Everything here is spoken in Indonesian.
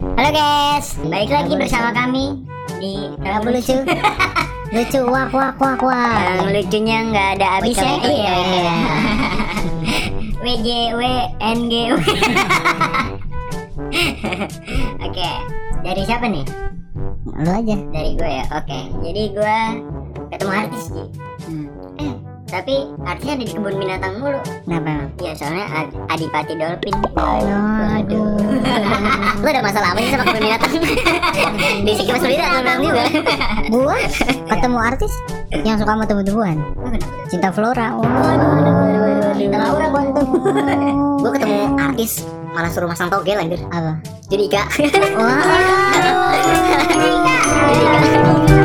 guys. Baik lagi bersama kami di Kamu lucu. lucu wak wak wak wak. Yang lucunya nggak ada habisnya Bocoran iya. WJW NGW. Oke, dari siapa nih? Lu aja. Dari gue ya. Oke, jadi gue ketemu artis Ji. Eh, tapi artisnya ada di kebun binatang mulu. Kenapa? emang? Ya soalnya Ad- Adipati Dolphin. Aduh. Lu ada masalah apa sih sama kebun binatang? di sini mas Lira nggak bilang juga. Gua ketemu artis yang suka sama tumbuh-tumbuhan. Cinta Flora. Oh, Cinta Laura Bontung. Gue ketemu artis malah suruh masang togel anjir. Apa? Jadi Ika. Wah. Jadi Ika.